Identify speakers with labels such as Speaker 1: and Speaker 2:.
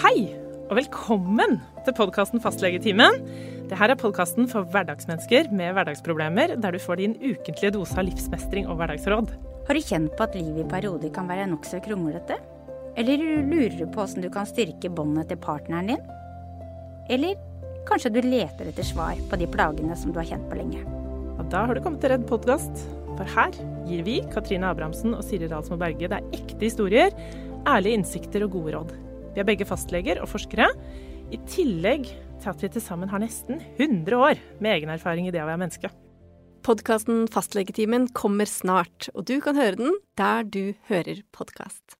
Speaker 1: Hei, og velkommen til podkasten Fastlegetimen. Dette er podkasten for hverdagsmennesker med hverdagsproblemer, der du får din ukentlige dose av livsmestring og hverdagsråd.
Speaker 2: Har du kjent på at livet i perioder kan være nokså kronglete? Eller lurer du på åssen du kan styrke båndet til partneren din? Eller kanskje du leter etter svar på de plagene som du har kjent på lenge?
Speaker 1: Og da har du kommet til redd podkast, for her gir vi, Katrine Abrahamsen og Siri Dalsmo Berge, deg ekte historier, ærlige innsikter og gode råd. Vi er begge fastleger og forskere, i tillegg til at vi til sammen har nesten 100 år med egen erfaring i det å være menneske.
Speaker 3: Podkasten Fastlegetimen kommer snart, og du kan høre den der du hører podkast.